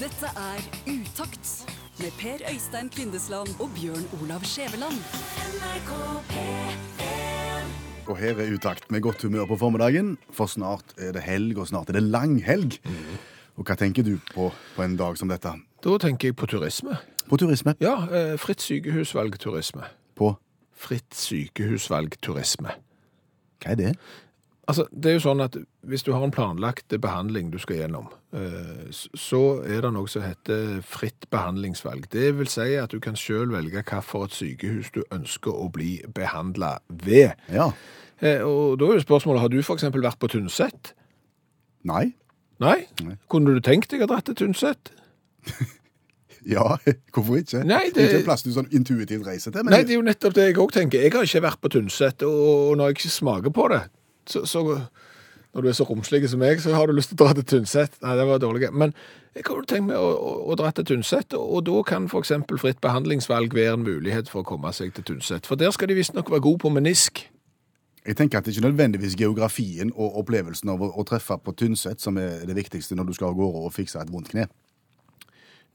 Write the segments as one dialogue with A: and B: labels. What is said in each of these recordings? A: Dette er Utakt med Per Øystein Kvindesland og Bjørn Olav Skjæveland.
B: Og her er utakt med godt humør på formiddagen, for snart er det helg, og snart er det langhelg. Og hva tenker du på på en dag som dette?
C: Da tenker jeg på turisme.
B: På turisme?
C: Ja, eh, fritt sykehusvalgturisme.
B: På
C: Fritt sykehusvalgturisme.
B: hva er det?
C: Altså, det er jo sånn at hvis du har en planlagt behandling du skal gjennom, eh, s- så er det noe som heter fritt behandlingsvalg. Det vil si at du kan selv velge hva for et sykehus du ønsker å bli behandlet ved.
B: Ja.
C: Eh, Og da er jo spørsmålet, har du for eksempel vært på Tynset?
B: Nei?
C: Nei?
B: Nei.
C: Kunne du tenkt deg å dratt til Tynset?
B: Ja, hvorfor ikke?
C: Nei,
B: det...
C: det-
B: Ikke en plass du sånn intuitivt reiser til, men
C: Nei, det er jo nettopp det jeg òg tenker. Jeg har ikke vært på Tynset, og når jeg ikke smaker på det, så, så Når du er så romslig som meg, så har du lyst til å dra til Tynset. Nei, det var dårlig. Men jeg kunne tenkt meg å, å, å dra til Tynset, og, og da kan f.eks. fritt behandlingsvalg være en mulighet for å komme seg til Tynset. For der skal de visstnok være gode på menisk.
B: jeg tenker at det er ikke nødvendigvis geografien og opplevelsen av å, å treffe på Tynset som er det viktigste når du skal av gårde og fikse et vondt kne.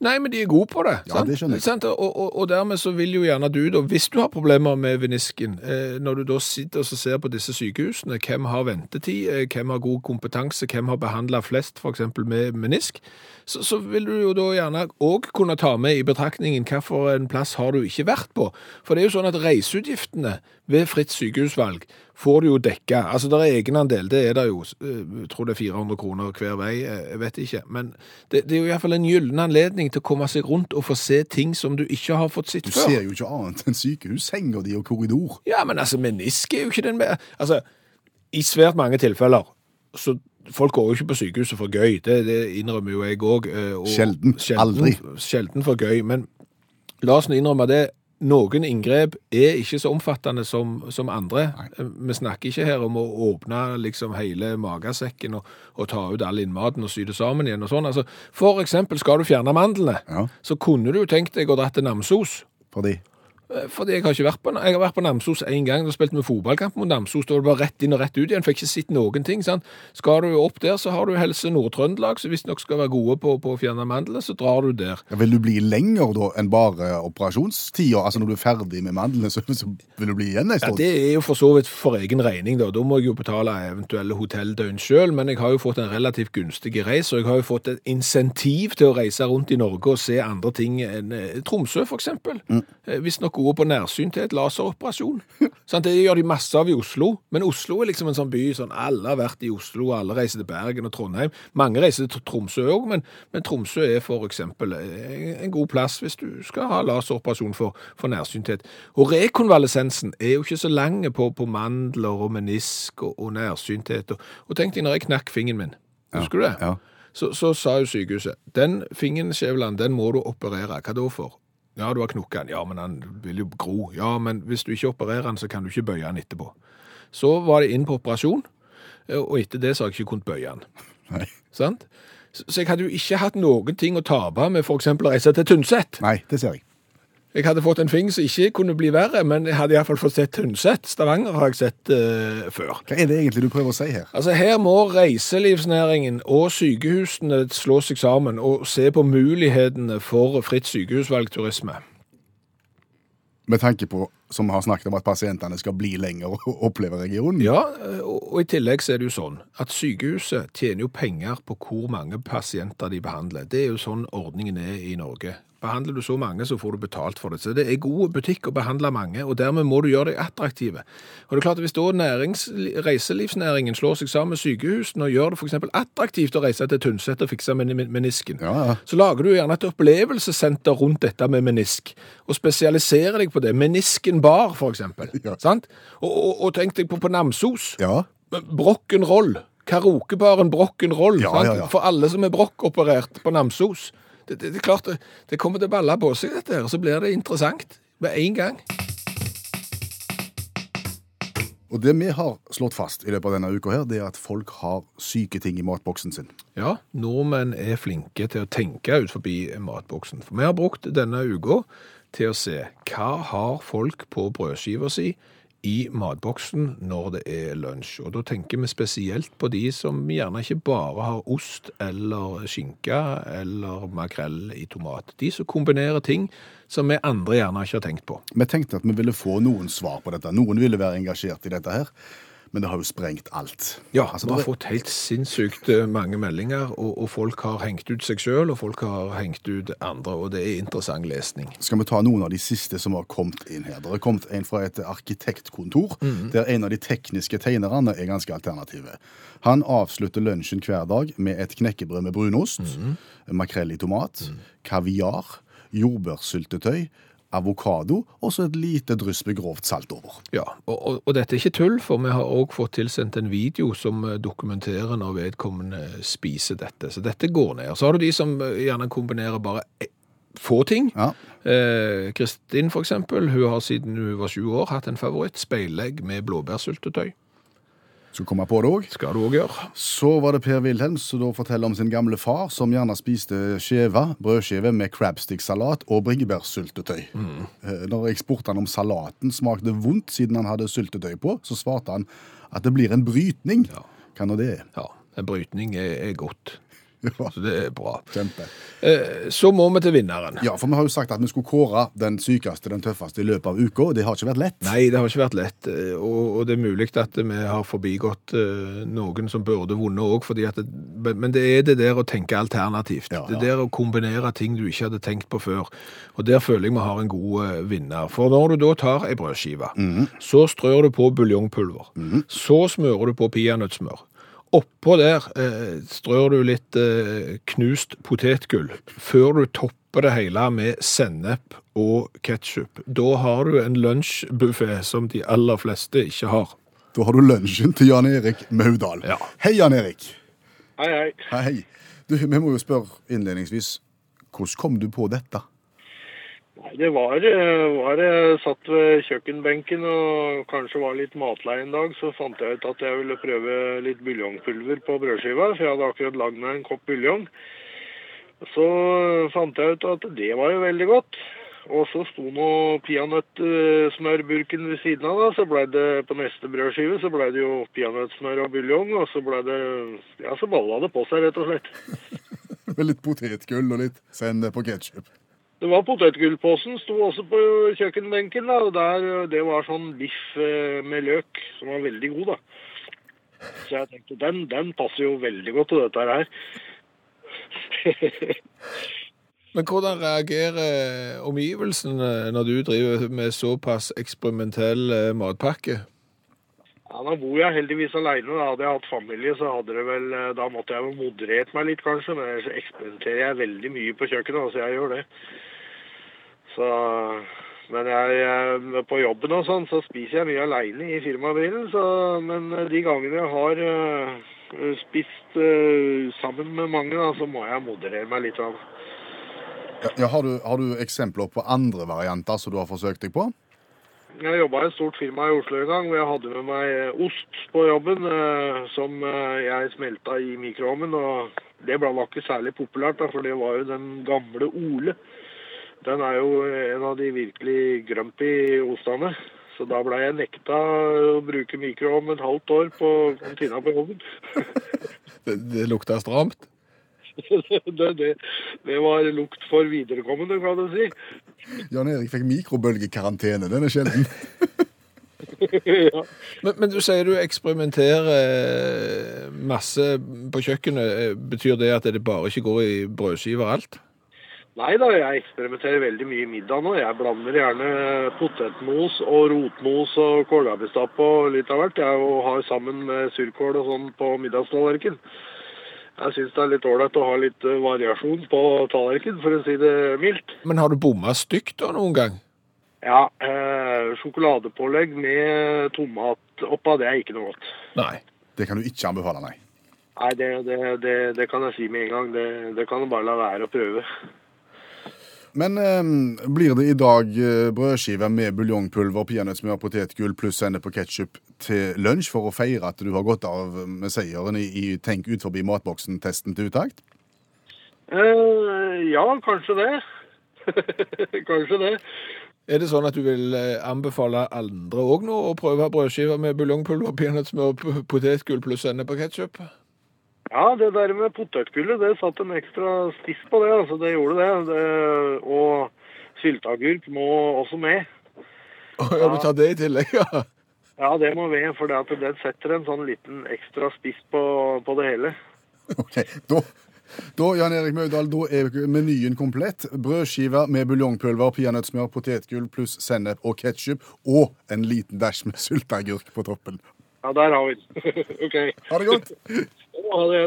C: Nei, men de er gode på det.
B: Ja, det skjønner jeg.
C: Sant? Og, og, og dermed så vil jo gjerne du, da, hvis du har problemer med venisken, eh, når du da sitter og så ser på disse sykehusene, hvem har ventetid, eh, hvem har god kompetanse, hvem har behandla flest f.eks. med menisk, så, så vil du jo da gjerne òg kunne ta med i betraktningen hvilken plass har du ikke vært på. For det er jo sånn at reiseutgiftene ved fritt sykehusvalg får du jo dekka. Altså, det er egenandel, det er det jo. Eh, Jeg tror det er 400 kroner hver vei, eh, jeg vet ikke. Men det, det er jo iallfall en gyllen anledning til å komme seg rundt og få se ting som du ikke har fått sett
B: Du
C: før.
B: ser jo ikke annet enn sykehus, senga di og korridor.
C: Ja, men altså, menisk er jo ikke den me- Altså, i svært mange tilfeller, så folk går jo ikke på sykehuset for gøy. Det, det innrømmer jo jeg òg.
B: Sjelden. Aldri.
C: Sjelden for gøy. Men la oss nå innrømme det. Noen inngrep er ikke så omfattende som, som andre. Eh, Vi snakker ikke her om å åpne liksom hele magesekken og, og ta ut all innmaten og sy det sammen igjen og sånn. Altså, for eksempel skal du fjerne mandlene,
B: Ja.
C: så kunne du jo tenkt deg å dra til Namsos.
B: Fordi
C: Eh, Fordi jeg har ikke vært på, jeg har vært på Namsos en gang. Da spilte vi fotballkamp mot Namsos. Da var det bare rett inn og rett ut igjen. Fikk ikke sett noen ting. sant? Skal du opp der, så har du Helse Nord-Trøndelag, som visstnok skal være gode på, på å fjerne mandlene. Så drar du der.
B: Ja, Vil du bli lenger da enn bare operasjonstida? Altså når du er ferdig med mandlene, så, så vil du bli igjen en
C: Ja,
B: stund?
C: Det er jo for så vidt for egen regning, da. Da må jeg jo betale eventuelle hotelldøgn sjøl, men jeg har jo fått en relativt gunstig reis, og jeg har jo fått et insentiv til å reise rundt i Norge og se andre ting enn eh, Tromsø, f.eks. Mm. Visstnok gode på nærsynthet, laseroperasjon. Sant, det gjør de masse av i Oslo, men Oslo er liksom en sånn by sånn alle har vært i Oslo, og alle reiser til Bergen og Trondheim. Mange reiser til Tromsø òg, men, men Tromsø er f.eks. en god plass hvis du skal ha laseroperasjon for, for nærsynthet. Og rekonvalesensen er jo ikke så lang på, på mandler og menisk og, og nærsynthet. Og, og tenk deg når jeg knakk fingeren min. Husker du det?
B: Ja.
C: Så, så sa jo sykehuset den fingeren, Skjæveland, den må du operere. Hva da for? Ja, du har knukket den. Ja, men han vil jo gro. Ja, men hvis du ikke opererer den, så kan du ikke bøye den etterpå. Så var det inn på operasjon, eh, og etter det så har jeg ikke kunnet bøye den.
B: Nei.
C: Sant? Så så jeg hadde jo ikke hatt noen ting å tape med f.eks. å reise til Tynset.
B: Nei, det ser jeg.
C: Jeg hadde fått en fing som ikke kunne bli verre, men jeg hadde iallfall fått sett Tynset. Stavanger har jeg sett eh, før.
B: Hva er det egentlig du prøver å si her?
C: Altså Her må reiselivsnæringen og sykehusene slå seg sammen og se på mulighetene for fritt sykehusvalgturisme.
B: Med tanke på, som vi har snakket om, at pasientene skal bli lenger og oppleve regionen?
C: Ja, og og i tillegg så er det jo sånn at sykehuset tjener jo penger på hvor mange pasienter de behandler. Det er jo sånn ordningen er i Norge. Behandler du så mange, så får du betalt for det. Så det er god butikk å behandle mange, og dermed må du gjøre deg attraktive. Og det er klart at Hvis da nærings, reiselivsnæringen slår seg sammen med sykehusene og gjør det for eksempel attraktivt å reise til Tynset og fikse men- men- menisken,
B: Ja, ja.
C: så lager du gjerne et opplevelsessenter rundt dette med menisk, og spesialiserer deg på det. Menisken bar, for eksempel.
B: Ja.
C: Sant? Og, og, og tenk deg på, på Namsos.
B: Ja.
C: Brokkenroll. Karaokebaren Brokkenroll.
B: Ja,
C: sant?
B: ja, ja.
C: For alle som er brokkoperert på Namsos. Det, det, det er klart, det, det kommer til å balle på seg, dette her. Så blir det interessant med en gang.
B: Og det vi har slått fast i løpet av denne uka her, det er at folk har syke ting i matboksen sin.
C: Ja, nordmenn er flinke til å tenke ut forbi matboksen. For vi har brukt denne uka til å se hva har folk på brødskiva si i matboksen når det er lunsj. Og da tenker vi spesielt på de som gjerne ikke bare har ost eller skinke eller makrell i tomat. De som kombinerer ting som vi andre gjerne ikke har tenkt på.
B: Vi tenkte at vi ville få noen svar på dette. Noen ville være engasjert i dette her. Men det har jo sprengt alt.
C: Ja,
B: Altså,
C: vi har
B: det-
C: fått helt sinnssykt eh, mange meldinger, og, og folk har hengt ut seg sjøl, og folk har hengt ut andre, og det er interessant lesning.
B: Skal vi ta noen av de siste som har kommet inn her? Det har kommet en fra et arkitektkontor, der en av de tekniske tegnerne er ganske alternative. Han avslutter lunsjen hver dag med et knekkebrød med brunost, makrell i tomat, kaviar, jordbærsyltetøy, avokado og så et lite dryss med grovt salt over.
C: Ja, og, og, og dette er ikke tull, for vi har også fått tilsendt en video som eh, dokumenterer når vedkommende eh, spiser dette. Så dette går ned. Så har du de som eh, gjerne kombinerer bare eh, få ting.
B: Ja.
C: Eh, Kristin, for eksempel, hun har siden hun var sju år hatt en favoritt, speilegg med blåbærsyltetøy.
B: Skal komme på det òg.
C: Skal du òg gjøre.
B: Så var det Per Wilhelm som da forteller om sin gamle far, som gjerne spiste skjeve, brødskive med crabstick-salat og bringebærsyltetøy. Eh, Når jeg spurte han om salaten smakte vondt siden han hadde syltetøy på, så svarte han at det blir en brytning. Hva nå det er?
C: Ja, en brytning er, er godt.
B: Ja,
C: Så det er bra.
B: Kjempe.
C: Eh, så må vi til vinneren.
B: Ja, for vi har jo sagt at vi skulle kåre den sykeste, den tøffeste i løpet av uka, og det har ikke vært lett.
C: Nei, det har ikke vært lett, eh, og, og det er mulig at vi har forbigått eh, noen som burde vunnet òg, men men det er det der å tenke alternativt.
B: Ja, ja.
C: Det der å kombinere ting du ikke hadde tenkt på før. Og der føler jeg vi har en god eh, vinner. For når du da tar ei brødskive,
B: Mhm.
C: så strør du på buljongpulver. Så smører du på peanøttsmør. Oppå der eh, strør du litt eh, knust potetgull, før du topper det hele med sennep og ketsjup. Da har du en lunsjbuffé som de aller fleste ikke har.
B: Da har du lunsjen til Jan Erik Maudal.
C: Ja.
B: Hei, Jan Erik.
D: Hei, hei.
B: Hei, hei. Du, vi må jo spørre innledningsvis, hvordan kom du på dette?
D: Nei, Det var, eh, var jeg satt ved kjøkkenbenken og kanskje var litt matlei en dag, så fant jeg ut at jeg ville prøve litt buljongpulver på brødskiva, for jeg hadde akkurat lagd meg en kopp buljong. Så eh, fant jeg ut at det var jo veldig godt. Og så sto nå peanøttsmørburken ved siden av, da, så ble det på neste brødskive så ble det jo peanøttsmør og buljong, og så ble det Ja, så balla det på seg, rett og slett.
B: Med litt potetgull og litt sennep og ketsjup.
D: Det var potetgullposen, sto også på kjøkkenbenken. da, og der, eh, Det var sånn biff eh, med løk, som var veldig god, da. Så jeg tenkte, den, den passer jo veldig godt til dette her.
C: Men hvordan reagerer omgivelsene når du driver med såpass eksperimentell eh, matpakke?
D: Ja, Nå bor jeg heldigvis alene. Da. Hadde jeg hatt familie, så hadde det vel, eh, da måtte jeg jo moderert meg litt, kanskje. Men ellers eksperimenterer jeg veldig mye på kjøkkenet, da, så jeg gjør det. Så, men jeg, eh, på jobben og sånn, så spiser jeg mye aleine i firmabilen. Så, men de gangene jeg har eh, spist eh, sammen med mange, da, så må jeg moderere meg litt. Da.
B: Ja, ja, har, du, har du eksempler på andre varianter som du har forsøkt deg på?
D: Jeg jobba i et stort firma i Oslo en gang hvor jeg hadde med meg eh, ost på jobben eh, som eh, jeg smelta i mikroovnen. Og det ble- var ikke særlig populært, da, for det var jo den gamle Ole. Den er jo eh, en av de virkelig grumpy ostene. Så da blei jeg nekta å bruke mikroovn et halvt år på kantina på jobben.
C: Det, det lukter stramt.
D: det, det, det var lukt for viderekommende, kan du si.
B: Jan Erik fikk mikrobølgekarantene. Den er sjelden.
D: ja.
C: Men, men du sier du eksperimenterer masse på kjøkkenet. Eh, Betyr det at det bare ikke går i brødskiver alt?
D: Nei da, jeg eksperimenterer veldig mye i middag nå. Jeg blander gjerne potetmos og rotmos og kålrabistappe og litt av hvert. Jeg og har sammen med surkål og sånn på middagstallerken. Jeg syns det er litt ålreit å ha litt eh, variasjon på tallerken, for å si det mildt.
C: Men har du bomma stygt da noen gang?
D: Ja, eh, sjokoladepålegg med tomat oppå, det er ikke noe godt.
C: Nei.
B: Det kan du ikke anbefale, nei.
D: Nei, det, det, det, det kan jeg si med en gang. Det, det kan du bare la være å prøve.
B: Men eh, blir det i dag eh, brødskiver med buljongpulver, peanøttsmør, potetgull pluss sennep og ketsjup til lunsj for å feire at du har gått av med seieren i, i Tenk ut forbi matboksen-testen til utakt?
D: Eh, ja, kanskje det. kanskje det.
C: Er det sånn at du vil eh, anbefale andre òg nå å prøve brødskiver med buljongpulver, peanøttsmør, p- potetgull pluss sennep og ketsjup?
D: Ja, det der med potetgullet, det satt en ekstra stiss på det. altså Det gjorde det. det og sylteagurk må også med.
C: Ja, du tar det i tillegg, ja.
D: Ja, det må med, for det, at det setter en sånn liten ekstra spiss på, på det hele.
B: Ok, da, da Jan Erik Møydal, da er menyen komplett. Brødskiver med buljongpulver, peanøttsmør, potetgull pluss sennep og ketsjup. Og en liten dæsj med sylteagurk på toppen.
D: Ja, der har vi den. OK.
B: Ha det godt!
D: Ha det.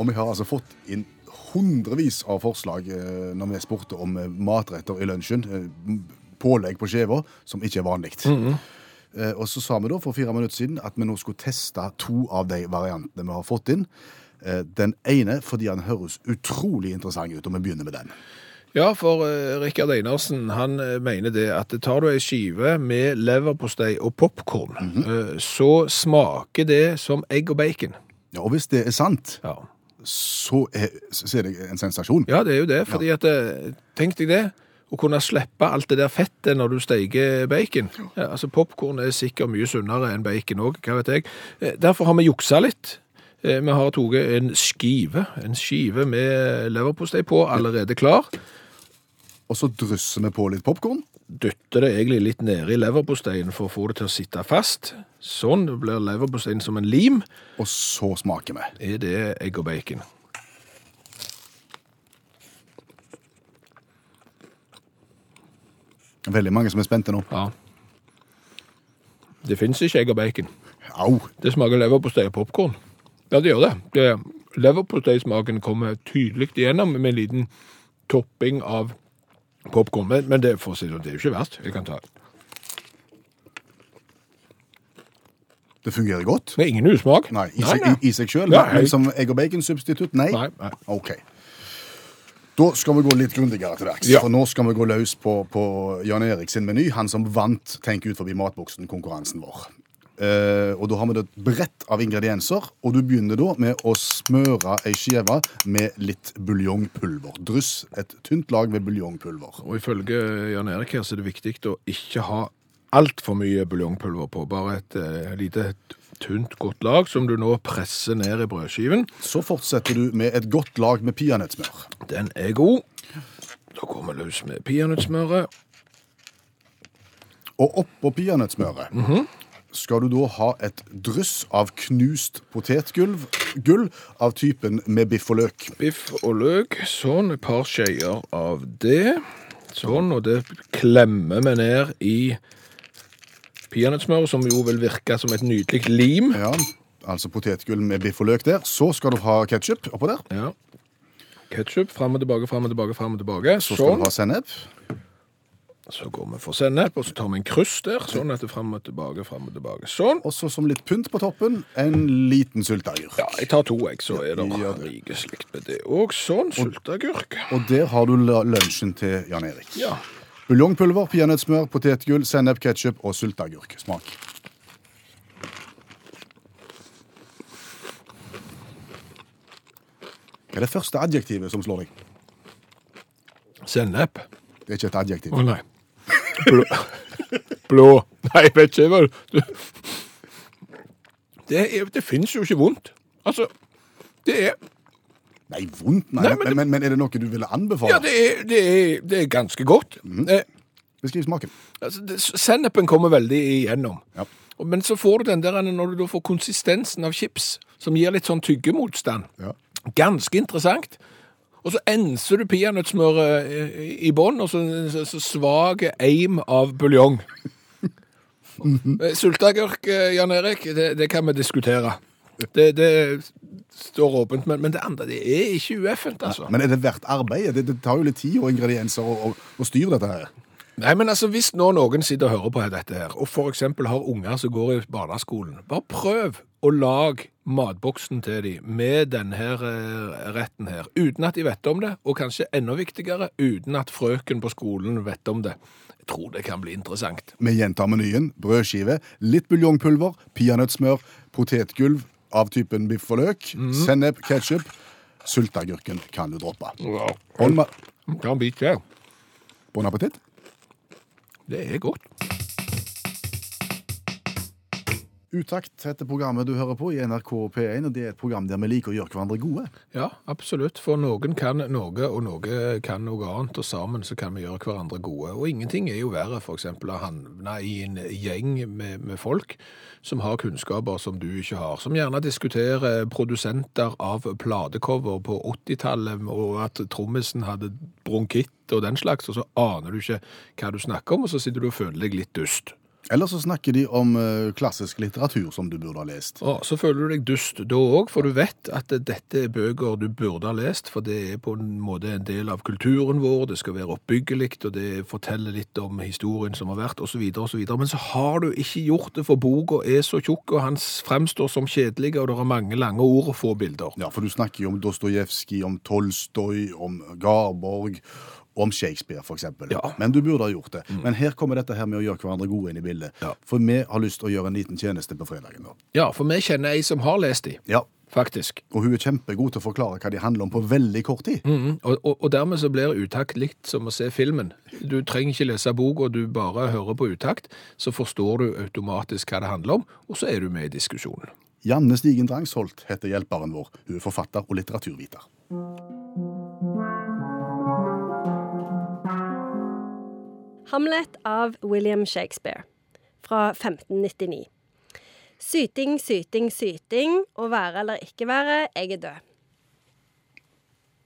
B: Og vi har altså fått inn hundrevis av forslag eh, når vi spurte om eh, matretter i lunsjen. eh, m- Pålegg på skiva som ikke er vanlig. Eh, Og så sa vi da for fire minutter siden at vi nå skulle teste to av de variantene vi har fått inn. Eh, Den ene fordi han høres utrolig interessant ut, og vi begynner med den.
C: Ja, for eh, Rikard Einarsen han eh, mener det at tar du ei skive med leverpostei og popkorn, eh, så smaker det som egg og bacon.
B: Ja, Og hvis det er sant,
C: Ja,
B: så er, så er det en sensasjon.
C: ja det er jo det. fordi at, eh, Tenk deg det. Å kunne slippe alt det der fettet når du steiker bacon. Ja, altså Popkorn er sikkert mye sunnere enn bacon òg, hva vet jeg. Eh, Derfor har vi juksa litt. Eh, Vi har tatt en skive en skive med leverpostei på, allerede klar.
B: Og så drysser vi på litt popkorn.
C: dytter det egentlig litt ned i leverposteien for å få det til å sitte fast. Sånn blir leverposteien som en lim.
B: Og så smaker vi.
C: Er det egg og bacon?
B: Veldig mange som er spente nå.
C: Ja. Det fins ikke egg og bacon.
B: Au!
C: Det smaker leverpostei og popkorn. Ja, det gjør det. det Leverposteismaken kommer tydelig igjennom med en liten topping av popkorn. Men, men det, for å si det, sånn, det er jo ikke verst. Jeg kan ta.
B: Det fungerer godt.
C: Det er ingen usmak.
B: Nei, i, seg- I, i seg sjøl?
C: Ja,
B: men
C: helt.
B: som egg og bacon-substitutt? Nei.
C: Nei, nei.
B: OK. Da skal vi gå litt grundigere til verks.
C: Ja.
B: For nå skal vi gå løs på, på Jan Erik sin meny, han som vant Tenk ut forbi matboksen-konkurransen vår. Eh, og Da har vi da et brett av ingredienser, og du begynner da med å smøre ei skive med litt buljongpulver. Dryss et tynt lag med buljongpulver.
C: Og ifølge Jan Erik her så er det viktig å ikke ha altfor mye buljongpulver på. Bare et eh, lite tynt, godt lag som du nå presser ned i brødskiven.
B: Så fortsetter du med et godt lag med peanøttsmør.
C: Den er god. Da går vi løs med peanøttsmøret.
B: Og oppå peanøttsmøret skal du da ha et dryss av knust potetgulv gull av typen med biff og løk.
C: Biff og løk. Sånn, et par skeier av det. Sånn, og det klemmer vi ned i peanøttsmøret, som jo vil virke som et nydelig lim.
B: Ja, altså potetgull med biff og løk der. Så skal du ha ketsjup oppå der.
C: Ja. Ketchup fram og tilbake, fram og tilbake, fram og tilbake.
B: Så skal du ha sennep.
C: Så går vi for sennep, og så tar vi en kryss der, sånn at det er frem og tilbake, frem og tilbake. Sånn.
B: Og så som litt pynt på toppen, en liten sylteagurk.
C: Ja, jeg tar to, jeg, så er det
B: Ja, det-
C: like slikt med det. Og sånn, sultagurk.
B: Og der har du la- lunsjen til Jan Erik.
C: Ja.
B: Buljongpulver, peanøttsmør, potetgull, sennep, ketsjup og sylteagurk. Smak. Hva er det første adjektivet som slår deg?
C: Sennep.
B: Det er ikke et adjektiv.
C: Å nei. Blå. Blå. Nei, jeg vet ikke hva du... Det, er, det finnes jo ikke vondt. Altså, det er,
B: Nei, vondt, nei.
C: Nei, men
B: men,
C: det-
B: men, men er det noe du ville anbefale?
C: ja, det er, det er, det er ganske godt. Eh,
B: Beskriv smaken.
C: altså, det, sennepen kommer veldig igjennom.
B: Ja.
C: Og- Men så får du den der når du da får konsistensen av chips, som gir litt sånn tyggemotstand.
B: Ja.
C: Ganske interessant. Og så enser du peanøttsmøret eh, i bånn, og så, så, så svak eim av buljong. Eh, Sulteagurk, eh, Jan Erik, det, det kan vi diskutere. Det, det står åpent, men, men det andre det er ikke ueffent, altså.
B: Men er det verdt arbeidet? Det, det tar jo litt tid og ingredienser og, og, og styr dette her.
C: Nei, men altså, Hvis nå noen sitter og hører på dette, her, og f.eks. har unger som går i barneskolen, bare prøv å lage matboksen til dem med denne her, eh, retten her, uten at de vet om det, og kanskje enda viktigere, uten at frøken på skolen vet om det. Jeg tror det kan bli interessant.
B: Vi gjentar menyen. Brødskive, litt buljongpulver, peanøttsmør, potetgulv av typen biff og løk, sennep, ketsjup. Sylteagurken kan du droppe.
C: Wow.
B: Hold meg
C: Ta en bit hver.
B: Bon appétit.
C: Det er godt.
B: Utakt heter programmet du hører på i NRK P1, og det er et program der vi liker å gjøre hverandre gode.
C: Ja, absolutt. For noen kan noe, og noe kan noe annet, og sammen så kan vi gjøre hverandre gode. Og ingenting er jo verre f.eks. å havne i en gjeng med, med folk som har kunnskaper som du ikke har. Som gjerne diskuterer produsenter av platecover på 80-tallet, og at trommisen hadde bronkitt og den slags, og så aner du ikke hva du snakker om, og så sitter du og føler deg litt dust.
B: Eller så snakker de om eh, klassisk litteratur som du burde ha lest.
C: Ja, så føler du deg dust da òg, for du vet at dette er bøker du burde ha lest, for det er på en måte en del av kulturen vår, det skal være oppbyggelig, og det forteller litt om historien som har vært, osv., osv. Men så har du ikke gjort det, for boka er så tjukk, og han fremstår som kjedelig, og det er mange lange ord og få bilder.
B: Ja, for du snakker jo om Dostojevskij, om Tolstoj, om Garborg, om Shakespeare f.eks.
C: Ja. Mm.
B: Men du burde ha gjort det. Men her kommer dette her med å gjøre hverandre gode inn i bildet.
C: Ja.
B: For vi har lyst til å gjøre en liten tjeneste på fredagen. nå.
C: Ja, for vi kjenner ei som har lest de,
B: Ja,
C: faktisk.
B: Og hun er kjempegod til å forklare hva de handler om på veldig kort tid.
C: Mhm, og, og, og dermed så blir utakt likt som å se filmen. Du trenger ikke lese bok, og du bare hører på utakt, så forstår du automatisk hva det handler om, og så er du med i diskusjonen.
B: Janne Stigen Drangsholt heter hjelperen vår. Hun er forfatter og litteraturviter.
E: Hamlet av William Shakespeare fra 1599. Syting, syting, syting, å være eller ikke være, jeg er død.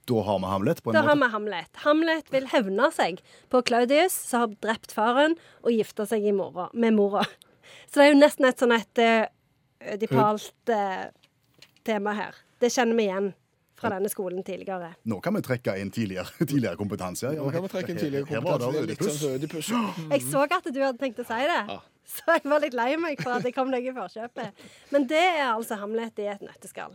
B: Da har vi Hamlet på en
E: Da har
B: måte.
E: vi Hamlet. Hamlet vil hevne seg på Claudius, som har drept faren, og gifta seg i mora, med mora. Så det er jo nesten et sånn et eh, ødipalt eh, tema her. Det kjenner vi igjen fra denne skolen tidligere.
B: Nå kan vi trekke inn tidligere, tidligere kompetanse. Ja,
C: Nå kan vi trekke en tidligere
B: her- her var det
C: kompetanse. Det er litt
B: Ødipus.
C: sånn som Ødipus.
E: Jeg så at du hadde tenkt å si det, så jeg var litt lei meg for at jeg kom deg i forkjøpet. Men det er altså Hamlet i et nøtteskall.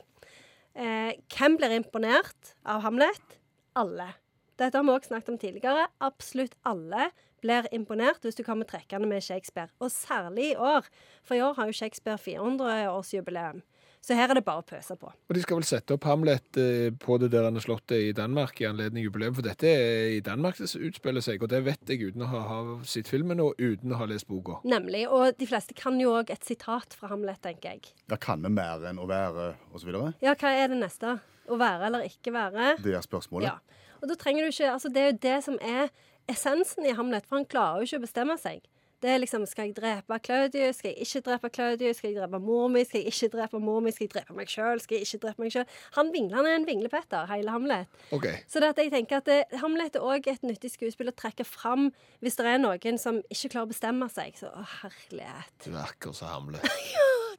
E: Eh, hvem blir imponert av Hamlet? Alle. Dette har vi også snakket om tidligere. Absolutt alle blir imponert hvis du kommer trekkende med Shakespeare. Og særlig i år, for i år har jo Shakespeare 400-årsjubileum. Så her er det bare å pøse på.
C: Og de skal vel sette opp Hamlet eh, på det der han har slått det i Danmark i anledning jubileum, for dette er i Danmark det utspiller seg, og det vet jeg uten å ha, ha sett filmen og uten å ha lest boka.
E: Nemlig. Og de fleste kan jo òg et sitat fra Hamlet, tenker jeg.
B: Ja, kan vi mer enn å være osv.?
E: Ja, hva er det neste? Å være eller ikke være?
B: Det er spørsmålet.
E: Ja. Og da trenger du ikke altså Det er jo det som er essensen i Hamlet, for han klarer jo ikke å bestemme seg. Det er liksom Skal jeg drepe Claudius? Skal jeg ikke drepe Claudius? Skal jeg drepe mor mi? Skal jeg ikke drepe mor mi? Skal jeg drepe meg sjøl? Skal jeg ikke drepe meg sjøl? Han vingler, han er en vinglepetter, hele Hamlet.
C: Ok,
E: Så det at jeg tenker at det, Hamlet er òg et nyttig skuespill å trekke fram hvis det er noen som ikke klarer å bestemme seg. Så å, herlighet.
C: det virker som Hamlet.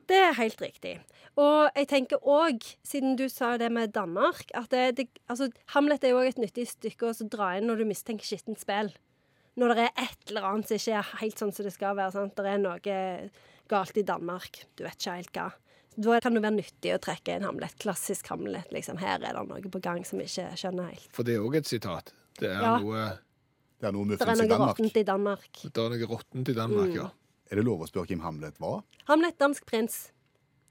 E: Det er helt riktig. Og jeg tenker òg, siden du sa det med Danmark at det, det, altså, Hamlet er jo òg et nyttig stykke å så dra inn når du mistenker skittent spill. Når det er et eller annet som ikke er helt sånn som det skal være. sant? Det er noe galt i Danmark. Du vet ikke helt hva. Da kan det være nyttig å trekke inn Hamlet. Klassisk Hamlet. liksom. Her er det noe på gang som vi ikke skjønner helt.
C: For det er også et sitat. Det er
E: Ja.
C: noe,
B: Det er noe
E: Det er
B: muffens i
E: noe
B: Danmark.
E: råttent i Danmark.
C: det er noe råttent i Danmark, ja.
B: Er det lov å spørre hvem Hamlet var?
E: Hamlet, dansk prins.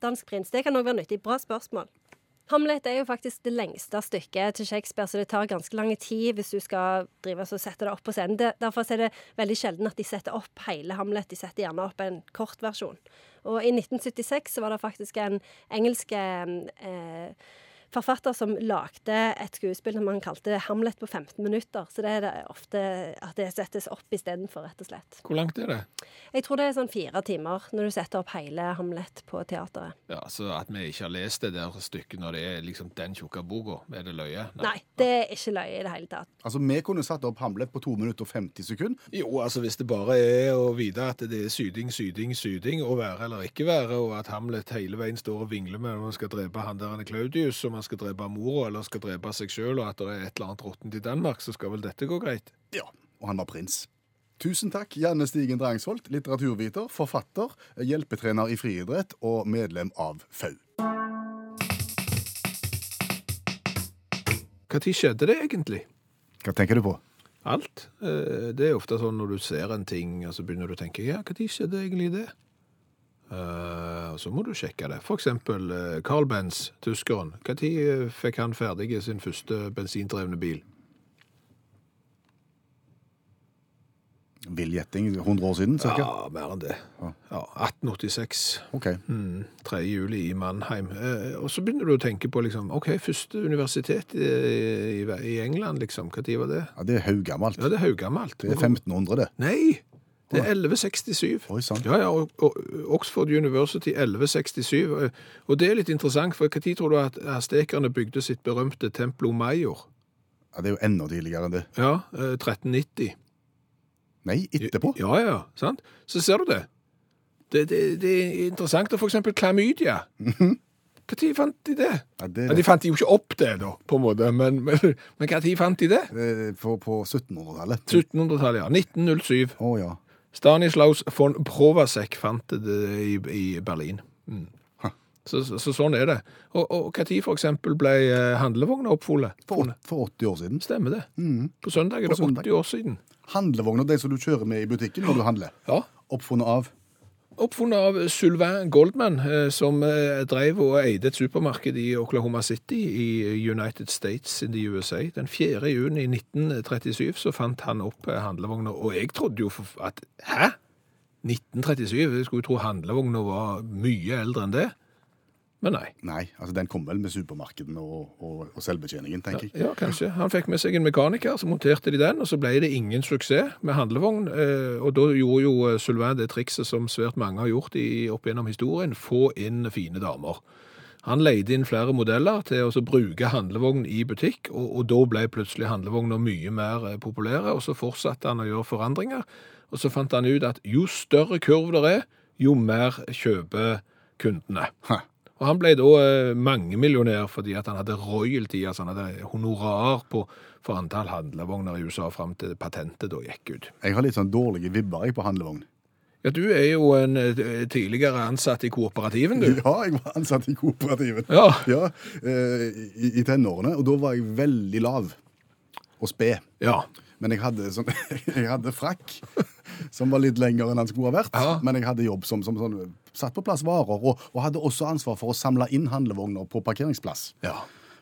E: Dansk prins, Det kan òg være nyttig. Bra spørsmål. Hamlet er jo faktisk det lengste stykket til Shakespeare, så det tar ganske lang tid hvis du skal drive og sette det opp på scenen. Det- Derfor så er det veldig sjelden at de setter opp hele Hamlet, de setter gjerne opp en kort versjon. Og i 1976 så var det faktisk en engelsk eh, forfatter som lagde et skuespill som han kalte Hamlet på 15 minutter, så det er det ofte at det settes opp istedenfor, rett og slett.
C: Hvor langt er det?
E: Jeg tror det er sånn fire timer når du setter opp hele Hamlet på teateret.
C: Ja, så At vi ikke har lest det der stykket når det er liksom den tjukke boka, er det løye?
E: Nei, det er ikke løye i det hele tatt.
B: Altså, Vi kunne satt opp Hamlet på 2 minutter og 50 sekunder.
C: Jo, altså hvis det bare er å vite at det er syding, syding, syding, å være eller ikke være, og at Hamlet hele veien står og vingler med om han skal drepe han der han er Claudius, om han skal drepe mora eller skal drepe seg sjøl, og at det er et eller annet råttent i Danmark, så skal vel dette gå greit?
B: Ja, Og han var prins. Tusen takk, Janne Stigen Drangsholt, litteraturviter, forfatter, hjelpetrener i friidrett og medlem av FAU.
C: Når skjedde det egentlig?
B: Hva tenker du på?
C: Alt. Eh, Det er ofte sånn når du ser en ting, og så begynner du å tenke ja, når skjedde egentlig det? Eh, Og så må du sjekke det. For eksempel eh, Carl Benz, eh, tyskeren. Når fikk han ferdig sin første bensindrevne bil?
B: Vill gjetting 100 år siden, cirka?
C: Ja, mer enn det. Ja, 1886.
B: Ok.
C: Mm, 3. juli i Mannheim. Eh, og så begynner du å tenke på liksom, OK, første universitet i, i, i England, liksom. Når var det?
B: Ja, det er haugammelt.
C: Ja, det er haugammelt.
B: Det er 1500, det.
C: Nei! Det er 1167.
B: Oi, sant.
C: Ja, ja, og, og Oxford University 1167. Og det er litt interessant, for når tror du at aztekerne bygde sitt berømte Templo Mayor?
B: Ja, det er jo enda tidligere enn det.
C: Ja, eh, 1390.
B: Nei, etterpå?
C: Ja, ja, sant? Så ser du det. Det, det, det er interessant. Og for eksempel klamydia. Når fant de det?
B: Ja, det
C: Ja, de fant jo ikke opp det, da, på en måte, men, men, men når fant de det?
B: Eh, På, på 1700-tallet.
C: 1700-tallet, ja. 1907.
B: Å ja.
C: Stanislaus von Provasek fant det i, i Berlin. Mm.
B: Ha.
C: Så, så, så sånn er det. Og, og hva tid for eksempel ble eh, handlevogna oppfunnet?
B: For, åt- for 80 år siden.
C: Stemmer det. På søndag
B: Mm.
C: er
B: På
C: det
B: søndag.
C: 80 år siden.
B: Handlevogner, de som du kjører med i butikken når du handler.
C: Ja.
B: Oppfunnet av
C: Oppfunnet av Sylvain Goldman, eh, som eh, drev og eide et supermarked i Oklahoma City i United States in the USA. Den 4. juni 1937 så fant han opp eh, handlevogna, og jeg trodde jo for- at Hæ? 1937? Jeg skulle jo tro handlevogna var mye eldre enn det. Men nei.
B: Nei, altså den kom vel med supermarkedene og, og, og selvbetjeningen, tenker jeg.
C: Ja, kanskje. Han fikk med seg en mekaniker, så monterte de den, og så ble det ingen suksess med handlevogn. Eh, Og da gjorde jo eh, Sylvain det trikset som svært mange har gjort i, opp gjennom historien, få inn fine damer. Han leide inn flere modeller til å så bruke handlevogn i butikk, og, og da ble plutselig handlevogner mye mer eh, populære, og så fortsatte han å gjøre forandringer, og så fant han ut at jo større kurv det er, jo mer kjøper kundene.
B: Hæ.
C: Og han ble da eh, mangemillionær fordi at han hadde royalty, altså han hadde honorar på, for antall handlevogner i USA fram til patentet da gikk ut.
B: Jeg har litt sånn dårlige vibber jeg på handlevogn.
C: Ja, du er jo en eh, tidligere ansatt i kooperativen, du.
B: Ja, jeg var ansatt i kooperativet.
C: Ja.
B: eh, i, I tenårene, og da var jeg veldig lav og sped.
C: Ja.
B: Men jeg hadde, sånn, jeg hadde frakk som var litt lengre enn han skulle ha vært.
C: Ja.
B: Men jeg hadde jobb som, som sånn, satt på plass varer, og, og hadde også ansvar for å samle inn handlevogner på parkeringsplass.
C: Ja.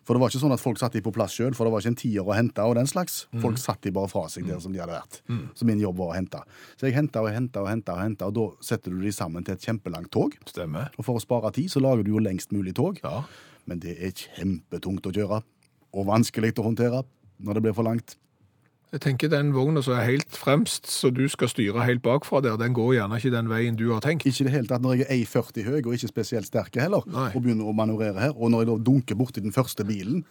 B: For det var ikke sånn at folk satt de på plass sjøl, for det var ikke en tier å hente. og den slags.
C: Mm.
B: Folk satt de bare fra seg der som de hadde vært. Så min jobb var å hente. Så jeg henta og henta og henta, og hentet, og da setter du de sammen til et kjempelangt tog.
C: Stemmer.
B: Og for å spare tid så lager du jo lengst mulig tog.
C: Ja.
B: Men det er kjempetungt å kjøre, og vanskelig å håndtere når det blir for langt.
C: Jeg tenker den vogna som er helt fremst, så du skal styre helt bakfra der, den går gjerne ikke den veien du har tenkt.
B: Ikke i det hele tatt når jeg er 1,40 høy og ikke spesielt sterke heller,
C: Nei.
B: og begynner å manøvrere her, og når jeg da dunker borti den første bilen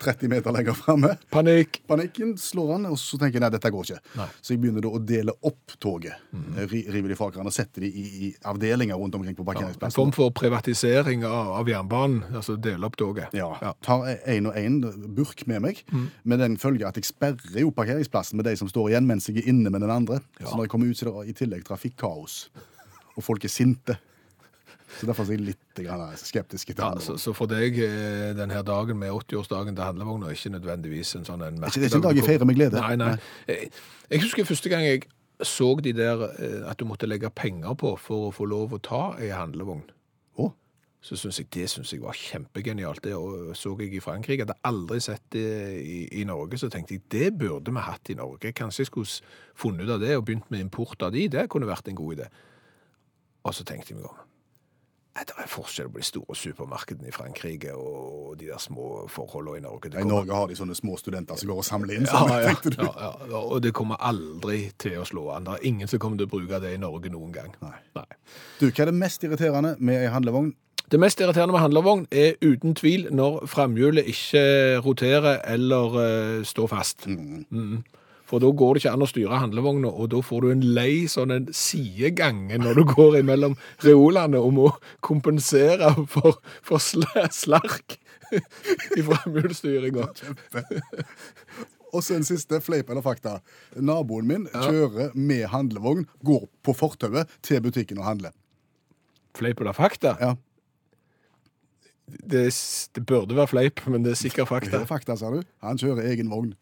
B: 30 meter lenger framme
C: Panikk!
B: Panikken slår an, og så tenker jeg nei, dette går ikke. Så jeg begynner da å dele opp toget.
C: Mhm.
B: Eh, ri- River de fra hverandre og setter de i, i avdelinger rundt omkring på
C: En
B: parkeringsplassen.
C: form for privatisering av, av jernbanen, altså dele opp toget.
B: Ja. Tar én og én burk med meg,
C: Mhm.
B: med den følge at jeg sperrer jo parkeringsplassen med de som står igjen, mens jeg er inne med den andre. Så når jeg kommer ut, så er det i tillegg trafikkaos. Og folk er sinte. Så derfor er jeg litt grann skeptisk. til
C: Ja,
B: andre.
C: så, så for deg eh, denne dagen med 80-årsdagen til handlevogna er ikke nødvendigvis en sånn en
B: ikke- det er ikke en dag jeg feirer med glede.
C: Nei, nei. Jeg, jeg husker første gang jeg så de der eh, at du måtte legge penger på for å få lov å ta ei handlevogn.
B: Å,
C: Så synes jeg Det synes jeg var kjempegenialt. Det og så jeg i Frankrike. Jeg hadde aldri sett det i, i Norge. Så tenkte jeg det burde vi hatt i Norge. Kanskje jeg skulle s- funnet ut av det og begynt med import av de. Det kunne vært en god idé. Og så tenkte jeg meg om. Nei, Det er forskjell på de store supermarkedene i Frankrike og de der små forholdene i Norge. Det
B: I
C: kommer,
B: Norge har de sånne små studenter som går og samler inn
C: ja,
B: sammen.
C: ja, ja, ja, og det kommer aldri til å slå an. Det er ingen som kommer til å bruke det i Norge noen gang.
B: Nei.
C: Nei.
B: Du, hva er det mest irriterende med ei handlevogn?
C: Det mest irriterende med handlevogn er uten tvil når framhjulet ikke roterer eller eh, står fast. Mm. For da går det ikke an å styre handlevogna, og da får du en lei sånn en sidegange når du går imellom reolene og må kompensere for, for sla- slark i framhjulsstyringa.
B: Og så en siste fleip eller fakta. Naboen min kjører med handlevogn, går på fortauet til butikken og handler.
C: Fleip eller fakta?
B: Ja,
C: Det, er s- det burde være fleip, men det er sikker
B: det
C: fakta.
B: er fakta, sa du. Han kjører egen vogn.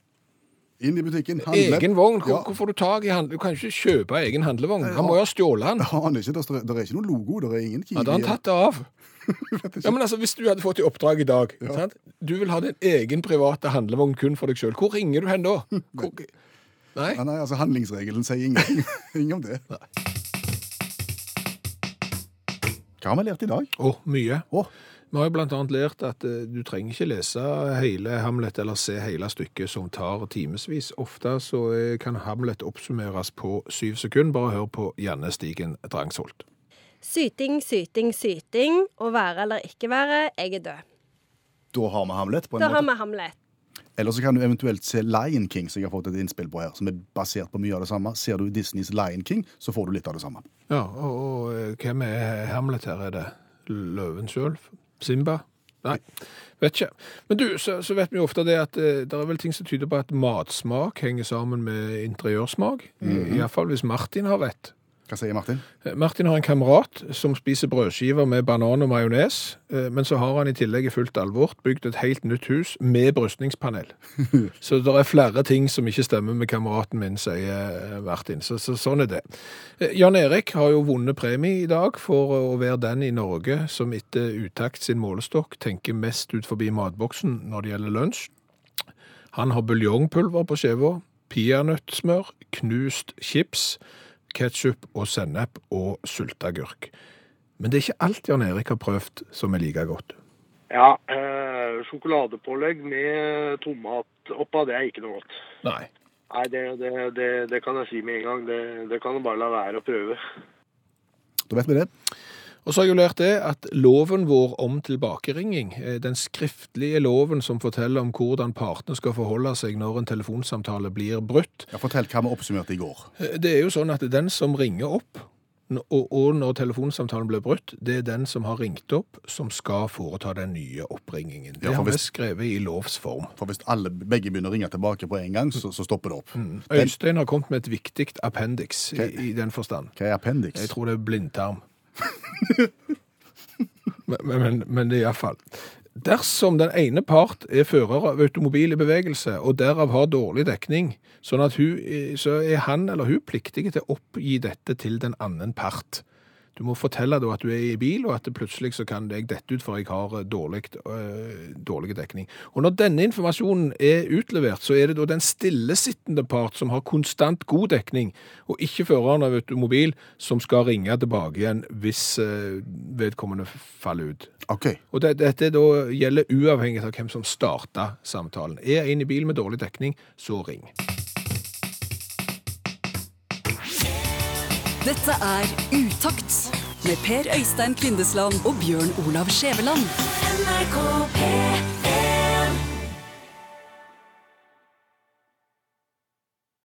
B: Inn i butikken, handler.
C: Egen vogn? Hvor,
B: Ja.
C: hvor får du tak i handle... Du kan ikke kjøpe egen handlevogn. Han må jo ha stjålet den.
B: Har han ikke, det står- det er ikke noe logo, det er ingen Kiwi.
C: Hadde han tatt det av? Ja, men altså, Hvis du hadde fått i oppdrag i dag sant? Du vil ha din egen private handlevogn kun for deg sjøl. Hvor ringer du hen da? Hvor... Nei?
B: Nei, nei, altså Handlingsregelen sier ingenting ingen om det. Hva har vi lært i dag?
C: Å, mye.
B: Å,
C: Vi har jo blant annet lært at eh, du trenger ikke lese hele Hamlet eller se hele stykket som tar timesvis. Ofte så eh, kan Hamlet oppsummeres på syv sekunder. Bare hør på Janne Stigen Drangsholt.
E: Syting, syting, syting. Å være eller ikke være. Jeg er død.
B: da har vi Hamlet. på en
E: Da har
B: måte.
E: vi Hamlet.
B: Eller så kan du eventuelt se Lion King, som jeg har fått et innspill på her, som er basert på mye av det samme. Ser du Disneys Lion King, så får du litt av det samme.
C: Ja, og, og eh, hvem er Hamlet her? Er det løven sjøl? Simba? Nei, vet ikke. Men du, så, så vet vi jo ofte det at eh, det er vel ting som tyder på at matsmak henger sammen med interiørsmak. Iallfall hvis Martin har rett.
B: Hva sier Martin?
C: Eh, Martin har en kamerat som spiser brødskiver med banan og majones, eh, men så har han i tillegg i fullt alvor bygd et helt nytt hus med brystningspanel. Så det er flere ting som ikke stemmer med kameraten min, sier eh, Martin. Så, så sånn er det. Eh, Jan Erik har jo vunnet premie i dag for å være den i Norge som etter Utakt sin målestokk tenker mest ut forbi matboksen når det gjelder lunsj. Han har buljongpulver på skjeva, peanøttsmør, knust chips, ketsjup og sennep og sylteagurk. Men det er ikke alt Jan Erik har prøvd som er like godt.
D: Ja, eh, sjokoladepålegg med tomat oppå, det er ikke noe godt.
C: Nei.
D: Nei, det, det, det, det kan jeg si med en gang. Det, det kan du bare la være å prøve.
B: Da vet vi det.
C: Og så har jeg jo lært det at loven vår om tilbakeringing, eh, den skriftlige loven som forteller om hvordan partene skal forholde seg når en telefonsamtale blir brutt,
B: Ja, fortell hva vi oppsummerte i går.
C: Det er jo sånn at den som ringer opp, n- og, og når telefonsamtalen blir brutt, det er den som har ringt opp, som skal foreta den nye oppringingen. Det
B: Ja, for
C: har vi
B: hvis-
C: skrevet i lovs form.
B: For hvis alle begge begynner å ringe tilbake på en gang, så, så stopper det opp. Den,
C: Øystein har kommet med et viktig appendix i, i den forstand.
B: hva er appendix?
C: Jeg tror det er blindtarm. men, men- men, men det er iallfall Dersom den ene part er fører av automobil i bevegelse, og derav har dårlig dekning, sånn at hun, så er han eller hun pliktig til å oppgi dette til den annen part. Du må fortelle da at du er i bil, og at det plutselig så kan jeg dette ut, for jeg har eh, dårlig, eh, dårlig dekning. Og når denne informasjonen er utlevert, så er det da den stillesittende part som har konstant god dekning, og ikke føreren av automobil, som skal ringe tilbake igjen hvis eh, vedkommende faller ut.
B: OK.
C: Og det- dette da gjelder uavhengig av hvem som starta samtalen. Er en i bil med dårlig dekning, så ring.
A: Dette er Utakt med Per Øystein Kvindesland og Bjørn Olav Skjæveland.
F: NRK P1